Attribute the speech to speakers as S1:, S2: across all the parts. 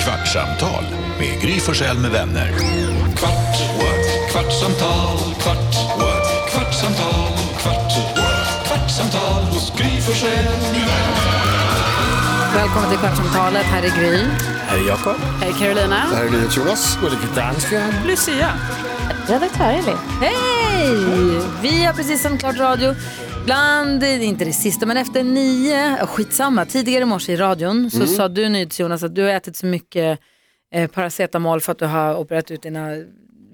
S1: Kvartsamtal med Gry Forssell med vänner. Kvart, what? kvartsamtal, kvart, what? kvartsamtal, kvart, what? kvartsamtal hos Gry Forssell med vänner.
S2: Välkommen till Kvartsamtalet. Här är Gry.
S3: Här är Jakob.
S2: Här är Carolina.
S3: Här är NyhetsJonas. Ulrika Dansken.
S2: Redaktör Elin. Hej! Vi har precis sänt klart radio. Bland, inte det sista, men efter nio, ja, skitsamma, tidigare i morse i radion
S3: Mm.
S2: så sa du NyhetsJonas att du har ätit så mycket eh, paracetamol för att du har opererat ut dina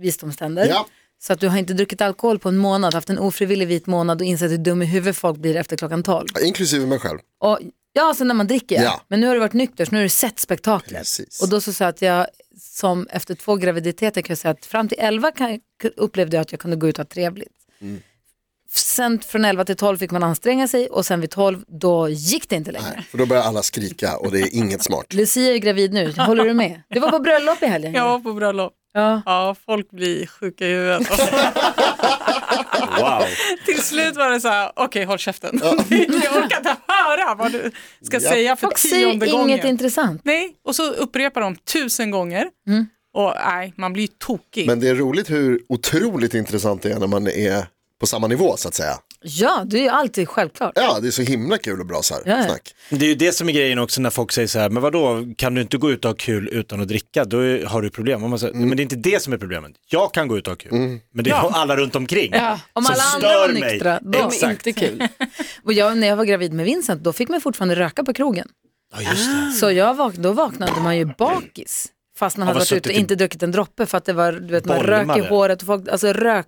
S2: visdomständer.
S3: Ja.
S2: Så att du har inte druckit alkohol på en månad, haft en ofrivillig vit månad och insett hur dum i huvudet folk blir efter klockan tolv.
S3: Inklusive mig själv.
S2: Och, ja, sen när man dricker ja.
S3: Ja.
S2: Men nu har du varit nykter så nu har du sett spektaklet.
S3: Precis.
S2: Och då så sa jag att jag som efter två graviditeter kan jag säga att fram till 11 kan, upplevde jag att jag kunde gå ut och ha trevligt.
S3: Mm.
S2: Sen från 11 till 12 fick man anstränga sig och sen vid 12 då gick det inte längre.
S3: Nej, för då börjar alla skrika och det är inget smart.
S2: Lucia är gravid nu, håller du med? Du var på bröllop i helgen.
S4: Jag var på bröllop.
S2: Ja.
S4: Ja, folk blir sjuka i huvudet. Till slut var det så här, okej håll käften. Jag orkar inte höra vad du ska
S3: Ja.
S4: säga för
S2: Och säg
S4: tionde gången.
S2: inget intressant.
S4: Nej, och så upprepar de tusen gånger.
S2: Mm.
S4: Och nej, man blir ju tokig.
S3: Men det är roligt hur otroligt intressant det är när man är på samma nivå så att säga.
S2: Ja, det är ju alltid självklart.
S3: Ja, det är så himla kul och bra så här
S2: Ja.
S3: snack.
S5: Det är ju det som är grejen också när folk säger så här, men vadå, kan du inte gå ut och ha kul utan att dricka, då är- har du problem. Och Man säger, Men det är inte det som är problemet. Jag kan gå ut och ha kul,
S3: Mm.
S5: men det är alla runt omkring
S2: Om
S5: som
S2: alla andra
S5: stör
S2: var
S5: mig.
S2: nyktra, då är det
S5: Exakt.
S2: inte kul. Och jag, när jag var gravid med Vincent, då fick man fortfarande röka på krogen.
S5: Ja, just det.
S2: Så jag vak- då vaknade man ju bakis. Fast man hade
S5: vad
S2: varit ute och
S5: suttit i-
S2: inte druckit en droppe för att det var, du vet, man rök i
S5: Bolmade.
S2: håret och folk, alltså rök,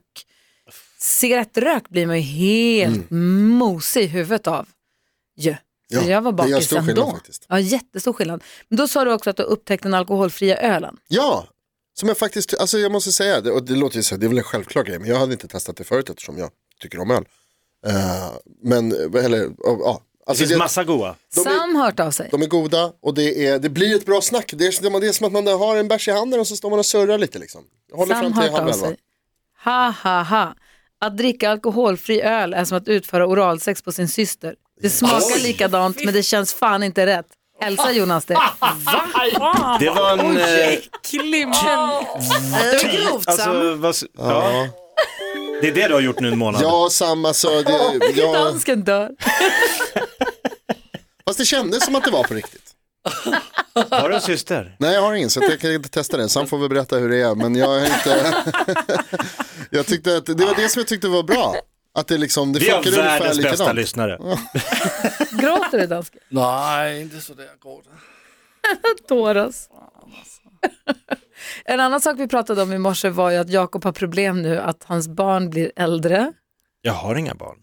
S2: cigarettrök blir man ju helt mosig i huvudet av. Ja. Så
S3: Mm. Ja,
S2: jag var
S3: det gör
S2: bakis
S3: stor skillnad
S2: ändå.
S3: faktiskt.
S2: Ja, jättestor skillnad. Men då sa du också att du upptäckte den alkoholfria ölen.
S3: Ja, som jag faktiskt, alltså jag måste säga, det, och det låter ju så, det är väl en självklar grej, men jag hade inte testat det förut eftersom jag tycker om öl. Eh, men, eller, ja.
S5: Det
S3: alltså
S5: finns massa goa.
S3: de är-
S2: Sam har hört av sig.
S3: De är goda och det, är, det blir ett bra snack. Det är, det är som att man har en bärs i handen och så står man och surrar lite. Liksom. Jag håller
S2: Sam
S3: fram
S2: har
S3: till
S2: hört
S3: halv
S2: av
S3: elva.
S2: sig. Ha, ha, ha. Att dricka alkoholfri öl är som att utföra oralsex på sin syster. Det smakar likadant men det känns fan inte rätt. Elsa Jonas det.
S5: Det var en... eh,
S4: Äcklig man.
S5: alltså, vad, s- ja. Det är det du har gjort nu en månad.
S3: Ja, samma så. Det, ja,
S2: Dansken dör.
S3: fast det kändes som att det var på riktigt.
S5: Har du en syster?
S3: Nej, jag har ingen så att jag kan inte testa det. Sam får väl berätta hur det är, men jag har inte... jag tyckte att, det var det som jag tyckte var bra. Att det liksom, det
S5: Vi har
S3: funkar ungefär
S5: världens bästa
S3: likadant.
S5: lyssnare.
S2: Gråter du dansken?
S6: Nej, inte sådär gråt.
S2: Tåras. En annan sak vi pratade om i morse var ju att Jakob har problem nu att hans barn blir äldre.
S5: Jag har inga barn.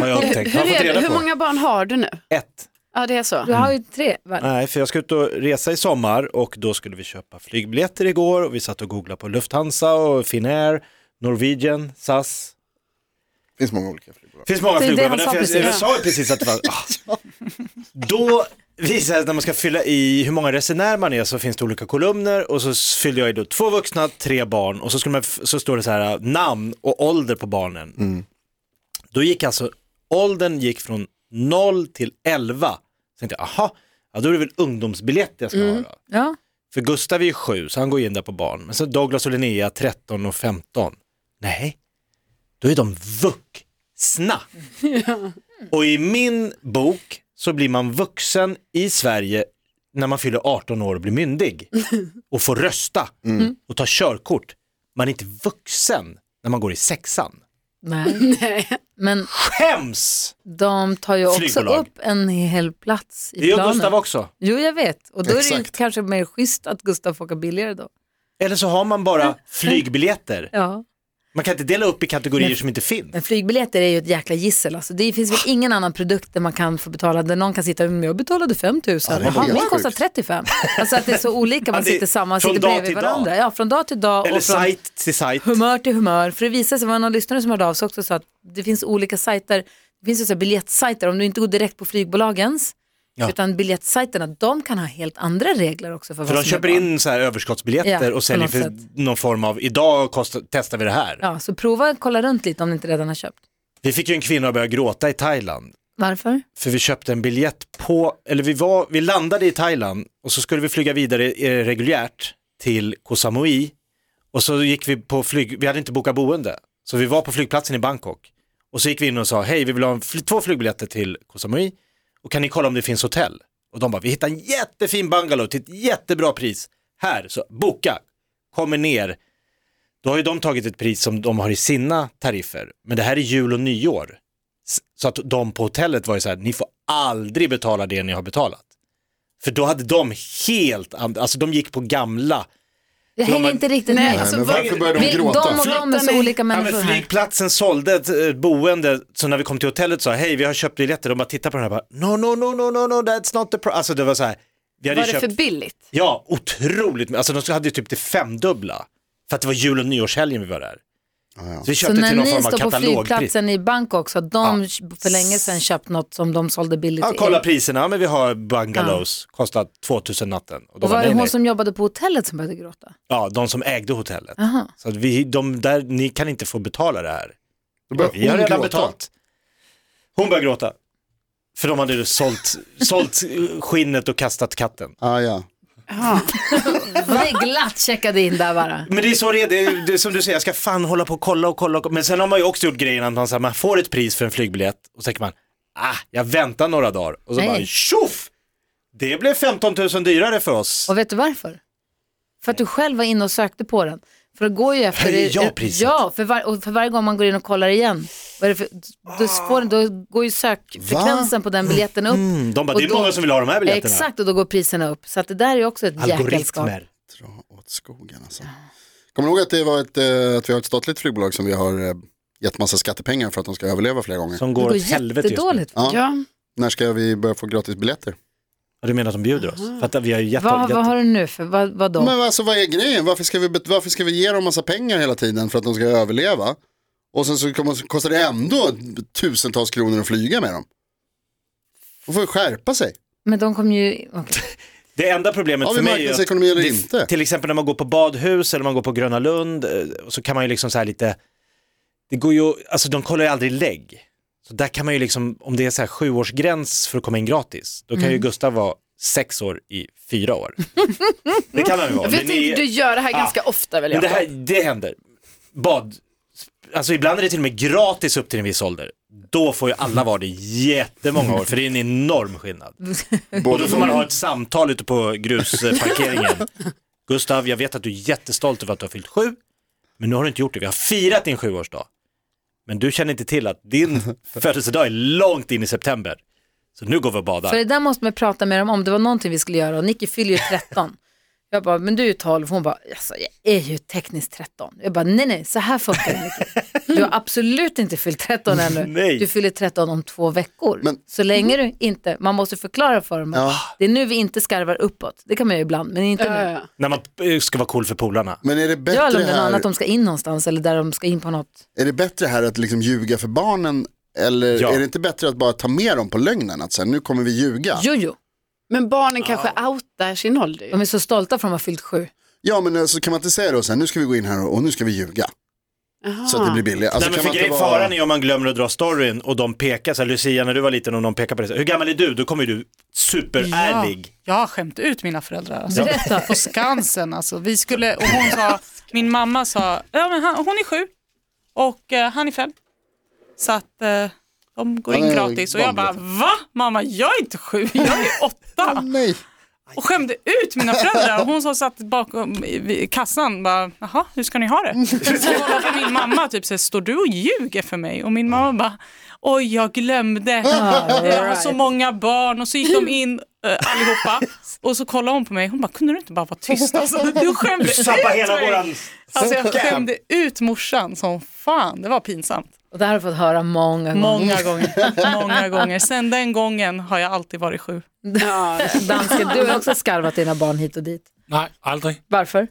S5: har jag upptäckt.
S7: Hur,
S5: Har jag fått
S7: är det?
S5: reda
S7: Hur
S5: på.
S7: många barn har du nu?
S5: Ett.
S7: Ja, det är så.
S2: Du har ju tre väl?
S5: Nej, för jag ska ut och resa i sommar och då skulle vi köpa flygbiljetter igår och vi satt och googlade på Lufthansa och Finnair, Norwegian, SAS.
S3: Det finns många olika flygbolag.
S5: Det finns många
S2: Det är det
S5: flygbolag,
S2: han
S5: men
S2: sa
S5: därför
S2: precis.
S5: jag, jag sa ju precis att det var... Ah. Då visar det när man ska fylla i hur många resenärer man är så finns det olika kolumner och så fyllde jag i då två vuxna, tre barn och så, skulle man, f- så står det så här äh, namn och ålder på barnen. Då gick alltså åldern gick från 0 till 11. Så tänkte jag, aha, ja, då är det väl ungdomsbiljett jag ska ha då.
S2: Mm. Ja.
S5: För Gustav är ju sju, så han går in där på barn. Men så Douglas och Linnea 13 och 15. Nej, då är de vuxna. Och i min bok så blir man vuxen i Sverige när man fyller 18 år och blir myndig. Och får rösta
S2: Mm.
S5: och ta körkort. Man är inte vuxen när man går i sexan.
S2: Nej. Men
S5: Skäms!
S2: de tar ju också
S5: Flygbolag.
S2: upp en hel plats i
S5: Det gör
S2: planen.
S5: Gustav också.
S2: Jo, jag vet. Och då är det ju
S3: Exakt.
S2: kanske mer schysst att Gustav får åka billigare då.
S5: Eller så har man bara flygbiljetter.
S2: Ja.
S5: Man kan inte dela upp i kategorier som inte finns.
S2: Men flygbiljetter är ju ett jäkla gissel. Alltså, det finns väl ingen annan produkt där man kan få betala, där någon kan sitta med jag betalade 5 000
S3: det är
S2: och han,
S3: helt
S2: min kostar
S3: sjukt.
S2: 35. Alltså att det är så olika, man
S5: Ja, det är
S2: sitter samma,
S5: från
S2: sitter
S5: dag
S2: bredvid
S5: till dag.
S2: varandra. Ja, från dag till dag
S5: Eller
S2: och från
S5: sajt till sajt.
S2: humör till humör. För det visar sig, det var någon lyssnare som hörde av sig också och sa att det finns olika sajter, det finns ju så här biljettsajter, om du inte går direkt på flygbolagens,
S5: Ja.
S2: utan biljettsajterna, de kan ha helt andra regler också för,
S5: För
S2: vad som
S5: de
S2: är
S5: köper
S2: bra.
S5: in så här överskottsbiljetter
S2: Ja,
S5: och säljer
S2: på
S5: för
S2: något sätt.
S5: någon form av, idag kostar, testar vi det här.
S2: Ja, så prova att kolla runt lite om ni inte redan har köpt.
S5: Vi fick ju en kvinna att börja gråta i Thailand.
S2: Varför?
S5: För vi köpte en biljett på, eller vi, var, vi landade i Thailand och så skulle vi flyga vidare eh, reguljärt till Koh Samui. Och så gick vi på flyg, vi hade inte bokat boende. Så vi var på flygplatsen i Bangkok. Och så gick vi in och sa, hej vi vill ha en, fly- två flygbiljetter till Koh Samui. Och kan ni kolla om det finns hotell? Och de bara, vi hittar en jättefin bungalow till ett jättebra pris. Här, så boka. Kommer ner. Då har ju de tagit ett pris som de har i sina tariffer. Men det här är jul och nyår. S- Så att de på hotellet var ju så här, ni får aldrig betala det ni har betalat. För då hade de helt, and- alltså de gick på gamla.
S2: Jag hänger
S5: men-
S2: inte riktigt
S4: Nej,
S2: med.
S4: alltså,
S3: men
S4: vad-
S3: varför börjar de
S2: Vi, de
S3: gråta?
S2: och de är så
S4: Flyttar ni?
S2: olika
S5: Ja,
S2: människor
S5: men
S2: här.
S5: flygplatsen sålde ett eh, boende, så när vi kom till hotellet sa hej vi har köpt biljetter, de bara tittade på den här bara, no no no no no no that's not the price. Alltså det var så här, vi hade
S7: Var
S5: ju
S7: det
S5: köpt,
S7: för billigt?
S5: ja otroligt, alltså de hade ju typ det femdubbla. För att det var jul och nyårshelgen vi var där. Så vi
S2: Så
S5: köpte
S2: när
S5: till någon
S2: ni
S5: form
S2: står
S5: av
S2: på
S5: katalogpris.
S2: flygplatsen i Bangkok så har de för länge sedan köpt något som de sålde billigt
S5: Ja,
S2: till
S5: kolla
S2: er.
S5: priserna, ja, men vi har bungalows, kostar 2000 natten. Och de
S2: Och var
S5: bara,
S2: det
S5: nej,
S2: hon
S5: nej.
S2: som jobbade på hotellet som började gråta?
S5: Ja, de som ägde hotellet.
S2: Aha.
S5: Så att vi, de där, ni kan inte få betala det här.
S3: Då börjar
S5: Vi har
S3: hon
S5: redan
S3: gråta.
S5: betalt. Hon började gråta. För de hade ju sålt, sålt skinnet och kastat katten.
S8: Ah, ja.
S2: Vi glatt checkade in där bara.
S5: Men det är så det är, det är, det är som du säger, jag ska fan hålla på och kolla och kolla. och kolla. Men sen har man ju också gjort grejen att man, så här, man får ett pris för en flygbiljett och så tänker man, ah, jag väntar några dagar. Och så
S2: Nej.
S5: bara tjoff! Det blev 15 000 dyrare för oss.
S2: Och vet du varför? För att du själv var inne och sökte på den. För det går ju efter...
S5: Höjer jag priset?
S2: Ja, för, var, och för varje gång man går in och kollar igen. Vad är det för, då, får, då går ju sökfrekvensen på den biljetten upp.
S5: Mm, de bara,
S2: Och
S5: det är många
S2: då-
S5: som vill ha de här biljetterna.
S2: Exakt, och då går priserna upp. Så att det där är också ett jäkelskap.
S5: Algoritmer.
S8: Dra åt skogen alltså. Kommer ni ihåg att, det var ett, eh, att vi har ett statligt flygbolag som vi har eh, gett massa skattepengar för att de ska överleva flera gånger?
S5: Som
S2: Det
S5: går
S2: går
S5: åt helvete just nu.
S2: jättedåligt.
S8: Ja.
S7: Ja.
S8: När ska vi börja få gratis biljetter?
S5: Ja, Du menar att de bjuder oss? För att vi har ju gett
S2: Vad,
S5: gett-
S2: vad har du nu för, vad, vad då?
S8: Men alltså vad är grejen? Varför ska, vi, bet- varför ska vi ge dem massa pengar hela tiden för att de ska överleva? Och sen så kommer- så kostar det ändå tusentals kronor att flyga med dem. De får ju skärpa sig.
S2: Men de kommer ju...
S5: Det enda problemet
S8: Har vi
S5: för mig är
S8: marknadsekonomi eller inte?
S5: till exempel när man går på badhus eller man går på Gröna Lund eh, så kan man ju liksom så här lite, det går ju, alltså de kollar ju aldrig lägg. Så där kan man ju liksom, om det är så här sjuårsgräns för att komma in gratis, då kan
S2: Mm.
S5: ju Gustav vara sex år i fyra år. det kan han ju vara.
S7: För
S5: men
S7: jag
S5: ni- Ah.
S7: tänkte, du gör det här ganska ofta väl?
S5: Men det,
S7: Jakob?
S5: här, det händer. Bad, alltså ibland är det till och med gratis upp till en viss ålder. Då får ju alla vara det jättemånga år, för det är en enorm skillnad. Och då får man ha ett samtal ute på grusparkeringen. Gustav, jag vet att du är jättestolt över att du har fyllt sju, men nu har du inte gjort det. Vi har firat din sjuårsdag, men du känner inte till att din födelsedag är långt in i september. Så nu går vi och
S2: För
S5: badar.
S2: det där måste man prata med dem om. Det var någonting vi skulle göra och Nicky fyller ju 13. Jag bara, men du är ju 12. Hon bara, alltså, jag är ju tekniskt 13. Jag bara, nej nej, så här funkar det Nicky. Du har absolut inte fyllt 13 ännu.
S5: Nej.
S2: Du fyller 13 om två veckor.
S8: Men-
S2: Så länge du inte, man måste förklara för dem. att
S5: Ah.
S2: Det är nu vi inte skarvar uppåt. Det kan man ju ibland, men inte
S7: Ja,
S2: nu.
S7: ja.
S5: När man eh, ska vara cool för polarna.
S8: Men är det bättre
S2: Ja, eller om det är något
S8: här,
S2: annat de ska in någonstans eller där de ska in på något.
S8: är det bättre här att liksom ljuga för barnen? Eller
S5: Ja.
S8: är det inte bättre att bara ta med dem på lögnen? Att så här, nu kommer vi ljuga.
S2: Jo, jo.
S7: Men barnen kanske outar sin ålder. ju.
S2: De är så stolta för att de har fyllt sju.
S8: Ja men eh, så kan man inte säga då så här, nu ska vi gå in här och, och nu ska vi ljuga. Så att det blir billigare. Alltså,
S5: Nej,
S8: kan
S5: men för
S8: man
S5: grej,
S8: inte vara-
S5: Faran är om man glömmer att dra storyn och de pekar, så här, Lucia när du var liten och någon pekar på dig, så här, hur gammal är du? Då kommer ju du superärlig.
S4: Jag har skämt ut mina föräldrar. Alltså.
S2: Berätta.
S4: På Skansen alltså. Vi skulle, och hon sa, min mamma sa, ja, men han, hon är sju och eh, han är fem. Så att eh, de går
S8: Ja,
S4: in
S8: ja,
S4: gratis och jag bara, va? Mamma, jag är inte sju, jag är åtta.
S8: Nej.
S4: Och skämde ut mina föräldrar. Och hon som satt bakom i- vid kassan bara, jaha, hur ska ni ha det? Så kollade på min mamma typ så här, står du och ljuger för mig? Och min mamma bara, oj, jag glömde. Jag har så många barn och så gick de in eh, allihopa och så kollade hon på mig. Hon bara, kunde du inte bara vara tyst? Alltså, du skämde ut
S5: Sabba hela
S4: mig.
S5: våran...
S4: Alltså, jag skämde ut morsan som fan. Det var pinsamt.
S2: Och det här har jag fått höra många gånger.
S4: Många gånger. Många gånger. Sen den gången har jag alltid varit sju.
S7: Ja.
S2: Dansken, du har också skarvat dina barn hit och dit.
S6: Nej, aldrig.
S2: Varför?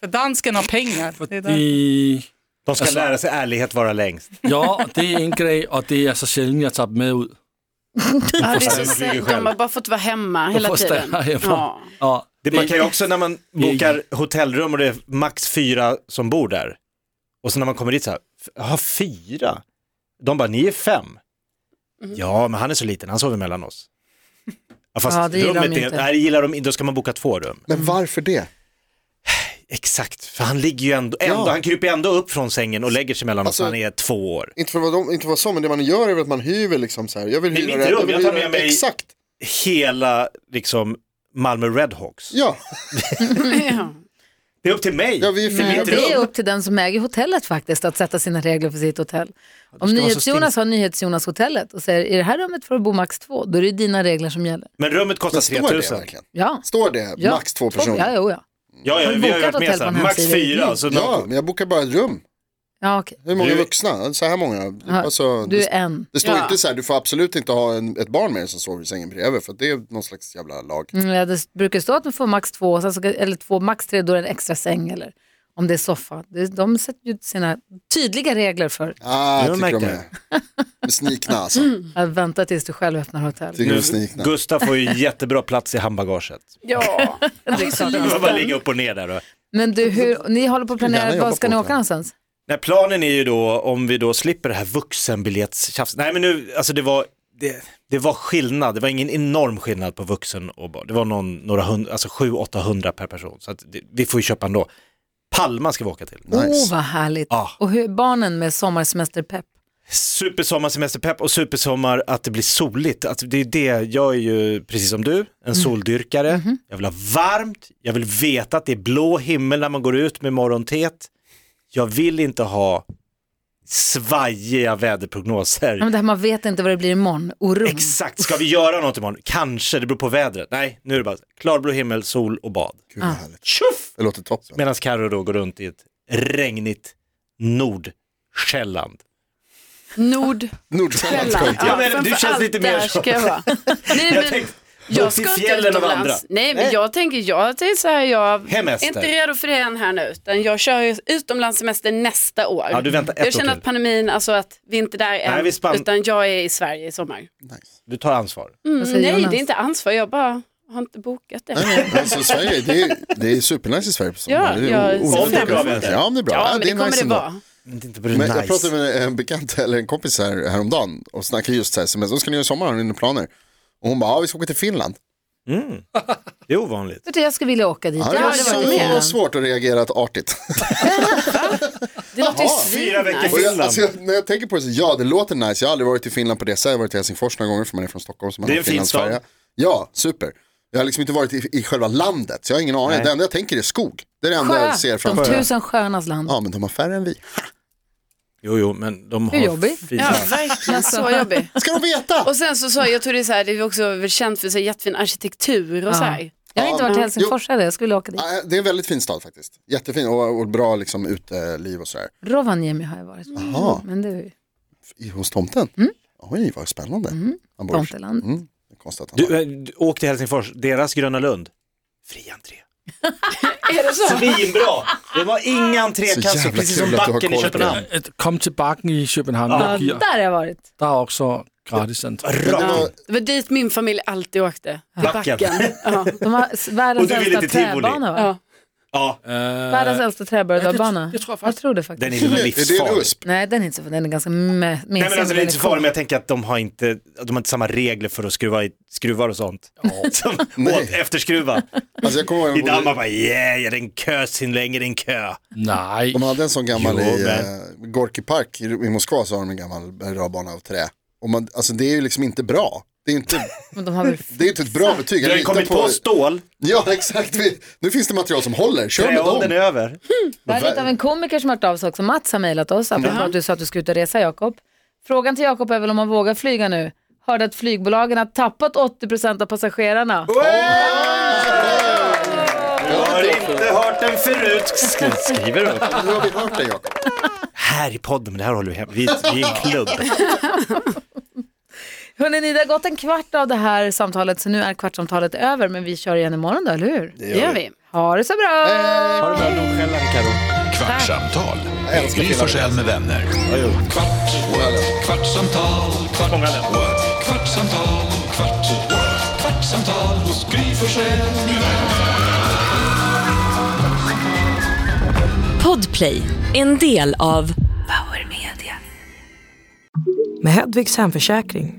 S4: För dansken har pengar. Det är där.
S6: I...
S5: De
S8: Alltså-
S5: ska lära sig ärlighet vara längst.
S6: Ja, och det är en grej och det är så sällan jag tar dem med ut.
S7: Ja, det
S5: De
S7: är så
S5: flyger
S7: säkert.
S5: själv.
S7: De har bara fått vara hemma hela
S6: får
S7: tiden.
S6: stanna hemma.
S7: Ja.
S6: Ja,
S5: Det, man kan ju också när man bokar hotellrum och det är max fyra som bor där. Och så när man kommer dit så här, "F- jaha fyra? De bara, ni är fem.
S2: Mm.
S5: Ja, men han är så liten, han sover mellan oss. Ja, fast
S2: Ja, det gillar
S5: rummet
S2: de ju
S5: är,
S2: inte.
S5: nej, det gillar de inte. Då ska man boka två rum.
S3: Men varför det?
S5: Exakt, för han ligger ju ändå, ändå
S3: Ja.
S5: han kryper ändå upp från sängen och lägger sig mellan oss
S3: Alltså-
S5: när han är två år.
S3: Inte för vad de, inte för vad som, men det man gör är väl att man hyr liksom så här. Jag vill
S5: Det är
S3: hyra
S5: mitt
S3: det-
S5: rum,
S3: vill
S5: jag
S3: hyra
S5: tar med
S3: det-
S5: mig-
S3: Exakt,
S5: Hela liksom Malmö Redhawks.
S3: ja.
S7: Ja.
S5: Det är upp till mig.
S3: ja vi är
S2: Nej,
S5: mitt
S2: det är
S5: rum.
S2: upp till den som äger hotellet faktiskt att sätta sina regler för sitt hotell. Om
S5: ska vara så
S2: NyhetsJonas har NyhetsJonas-hotellet och säger i det här rummet får du bo max två, då är det ju dina regler som gäller.
S5: Men rummet kostar
S3: Men står det
S5: 3000.
S3: verkligen?
S2: Ja.
S3: Står det
S2: ja.
S3: max två personer?
S2: Ja, jo, ja.
S5: Ja, ja,
S2: Har du
S5: vi har ju
S2: bokat hotell
S5: varit med
S2: på
S5: så här,
S2: en
S5: max
S2: hemsida?
S5: fyra. alltså, Så
S3: Ja, men jag bokar bara ett rum.
S2: ja okej.
S3: Hur många
S5: Du-
S3: vuxna? Så här många. Alltså,
S2: Du
S3: det,
S2: är en.
S3: det står
S7: Ja.
S3: inte så här, du får absolut inte ha en, ett barn med dig som sover i sängen bredvid för det är någon slags jävla lag.
S2: Mm, ja, det brukar stå att man får max två, sen så- eller två, max tre, då är det en extra säng eller om det är soffa. Det- De sätter ju sina tydliga regler för
S3: Ah,
S5: Jag
S3: jag tycker de
S5: märker
S3: är. De är snikna alltså.
S7: Mm.
S2: att vänta tills du själv öppnar hotell.
S3: Tycker de är
S5: Nu,
S3: snikna.
S5: Gustav får ju jättebra plats i handbagaget.
S7: ja.
S2: Det är klart.
S5: Du behöver bara ligga upp och ner där. Och.
S2: Men du, hur, ni håller på att
S3: Gärna
S2: planera,
S3: jobba
S2: var ska
S3: på
S2: ni
S3: hotell.
S2: åka någonstans?
S5: Nej, planen är ju då om vi då slipper det här vuxenbiljettstjafset. Nej men nu, alltså det var, det, det var skillnad, det var ingen enorm skillnad på vuxen och barn. Det var någon, några hundra, alltså 700-800 per person. Så att det, vi får ju köpa ändå. Palma ska vi åka till.
S2: Åh,
S3: Nice. Ah.
S2: oh, vad härligt.
S5: Ja.
S2: Och hur, barnen med sommarsemesterpepp?
S5: Supersommarsemesterpepp och supersommar att det blir soligt. Att det är det, jag är ju precis som du, en
S7: Mm.
S5: soldyrkare.
S7: Mhm.
S5: Jag vill ha varmt, jag vill veta att det är blå himmel när man går ut med morgontet. Jag vill inte ha svajiga väderprognoser.
S2: Ja, men det här, man vet inte vad det blir imorgon, oron.
S5: Exakt, ska vi göra något imorgon? Kanske, det beror på vädret. Nej, nu är det bara klarblå himmel, sol och bad.
S3: Gud
S7: Ah.
S3: vad härligt.
S5: Tjoff!
S3: Det låter toppen.
S5: Medan Carro då går runt i ett regnigt Nordsjälland.
S7: Nord.
S3: Nordsjälland.
S7: Själland.
S5: Ja, men du
S7: framför
S5: känns
S7: allt
S5: lite mer
S7: där
S5: så.
S7: Ska jag vara. Nej, men
S5: Jag tänkte, jag ska
S7: inte
S5: fjällen och
S7: utomlands.
S5: vandra.
S7: Nej, men jag tänker, jag tänker så här, jag är
S5: Hemester.
S7: inte redo för det än här nu, utan jag kör ju utomlandssemester nästa år.
S5: Ja, du väntar ett
S7: jag
S5: år
S7: känner
S5: till.
S7: att pandemin, alltså att vi inte är där än,
S5: Nej, vi spann-
S7: utan jag är i Sverige i sommar. Mm,
S5: Du tar ansvar.
S2: Vad säger
S7: Nej,
S2: Jonas?
S7: det är inte ansvar, jag bara har inte bokat det.
S3: Nej, nej, alltså, Sverige, det, är, det är supernice i Sverige på sommaren.
S7: Ja,
S3: det
S7: ja,
S3: är o- olika
S5: om det är bra
S3: saker.
S5: väder.
S3: Ja, om det är bra.
S7: Ja, men det,
S3: är
S7: kommer
S3: nice
S7: det
S3: ändå.
S7: vara.
S5: Men det är inte bara
S3: Men
S5: nice.
S3: jag pratade med en bekant eller en kompis här, häromdagen och snackade just så här, men så ska ni göra i sommar, har ni några planer? Och hon bara, ja vi ska åka till Finland.
S5: Det är ovanligt.
S2: Vet du, Jag skulle vilja åka dit.
S3: Ja,
S2: jag
S3: det
S2: har
S3: var
S2: aldrig varit i
S3: så
S2: Finland.
S3: svårt att reagera artigt.
S7: Det låter ju
S5: Fyra veckor
S3: Och
S7: svinnice.
S3: jag,
S5: Finland.
S3: alltså, jag, när jag tänker på det så, ja det låter nice, jag har aldrig varit i Finland på det sättet, jag har varit i Helsingfors några gånger för man är från Stockholm. Så man
S5: Det är
S3: har
S5: en fin
S3: Finlands
S5: stad.
S3: färja. Ja, super. Jag har liksom inte varit i, i själva landet, så jag har ingen aning.
S5: Nej.
S3: Det enda jag tänker är skog. Det är det enda jag ser
S2: Sjö, de
S3: framför mig.
S2: tusen sjöarnas land.
S3: Ja, men de har färre än vi.
S5: Jo, jo, men de
S2: Hur
S5: har
S2: jobbig?
S5: fina...
S7: Ja, verkligen
S2: Alltså.
S7: så jobbig.
S3: Ska de veta?
S7: Och sen så sa jag, jag tror det är så här, det är också väl känt för så här, jättefin arkitektur och så här.
S2: Jag har inte
S3: Ja.
S2: varit i Helsingfors heller, jag skulle vilja åka dit.
S3: Ja, det är en väldigt fin stad faktiskt. Jättefin och, och bra liksom uteliv och sådär.
S2: Rovaniemi har jag varit.
S3: Jaha.
S2: Men det är ju
S3: I- Hos tomten? Oj, vad spännande. Han bor-
S2: tomteland.
S3: Mm. Det är konstigt att han har-
S5: Du, eh, du, åk till Helsingfors, deras Gröna Lund. Fri entré.
S7: Är det så?
S5: Svinbra! Det var inga
S3: Så
S5: entrékassor,
S3: jävla
S5: precis
S3: kul
S5: som
S3: att du har
S5: backen i
S3: koll på
S5: Köpenhamn.
S6: At komme til bakken i København,
S2: Ja,
S6: der, giver,
S2: där har jag varit.
S6: der er også gratis entré.
S5: Rakt in.
S7: Det var dit min familj alltid åkte. Till
S5: Backen.
S7: backen. Ja.
S2: De har s- världens
S5: Och du ville
S2: äldsta
S5: till Tivoli.
S2: träbana va?
S7: Ja.
S5: Ja,
S2: Världens äldsta träbörjarbana.
S6: jag tror jag
S2: jag
S6: faktiskt.
S2: tror det faktiskt.
S5: den är
S3: Är
S5: väl
S3: det en
S5: livsfarlig.
S3: USP?
S2: Nej den är inte så, den är ganska me- mesig.
S5: Nej men alltså det är inte så
S2: cool.
S5: farligt, men jag tänker att de har inte, att de har inte samma regler för att skruva i skruvar och sånt. Som åt efterskruva.
S3: Alltså, jag kommer ihåg,
S5: I
S3: jag bodde-
S5: Danmark bara, yeah, det är en kö sin längre, det är en kö.
S6: Nej,
S3: De hade en sån gammal
S5: Jo,
S3: i
S5: men-
S3: eh, Gorki Park i, i Moskva så har de en gammal berg-och-dalbana av trä. Och man, alltså det är ju liksom inte bra. Det är inte,
S2: Men de har väl
S3: det är inte ett bra betyg.
S5: Du
S3: Jag
S5: har ju
S3: litar
S5: kommit på stål,
S3: Ja exakt, vi, nu finns det material som håller. Kör med
S5: träåldern är
S3: dem.
S5: över.
S2: Det här är lite av en komiker som har hört av sig också. Mats har mejlat oss, apropå att du sa att du skulle ut och resa Jakob. Frågan till Jakob är väl om man vågar flyga nu. Hörde att flygbolagen har tappat 80% av passagerarna.
S5: Jag har inte hört den förut. Sk- Skriver upp.
S3: Nu har vi hört det Jakob.
S5: Här i podden, men det här håller vi hem. Vi, vi är en klubb.
S2: Hörrni, ni, det har gått en kvart av det här samtalet så nu är kvartsamtalet över men vi kör igen imorgon då, eller hur?
S7: Det gör vi.
S2: Ha det så bra!
S5: Har du börjat nog skälla, Karo?
S1: Kvartsamtal
S3: Jag
S1: med
S3: älskar
S1: Gry
S3: Pilla
S1: Forssell med vänner. Kvart, what? kvartsamtal, kvart, what? kvartsamtal, kvart, what? kvartsamtal hos Gry Forssell med vänner.
S9: Podplay, en del av Power Media.
S10: Med Hedvigs hemförsäkring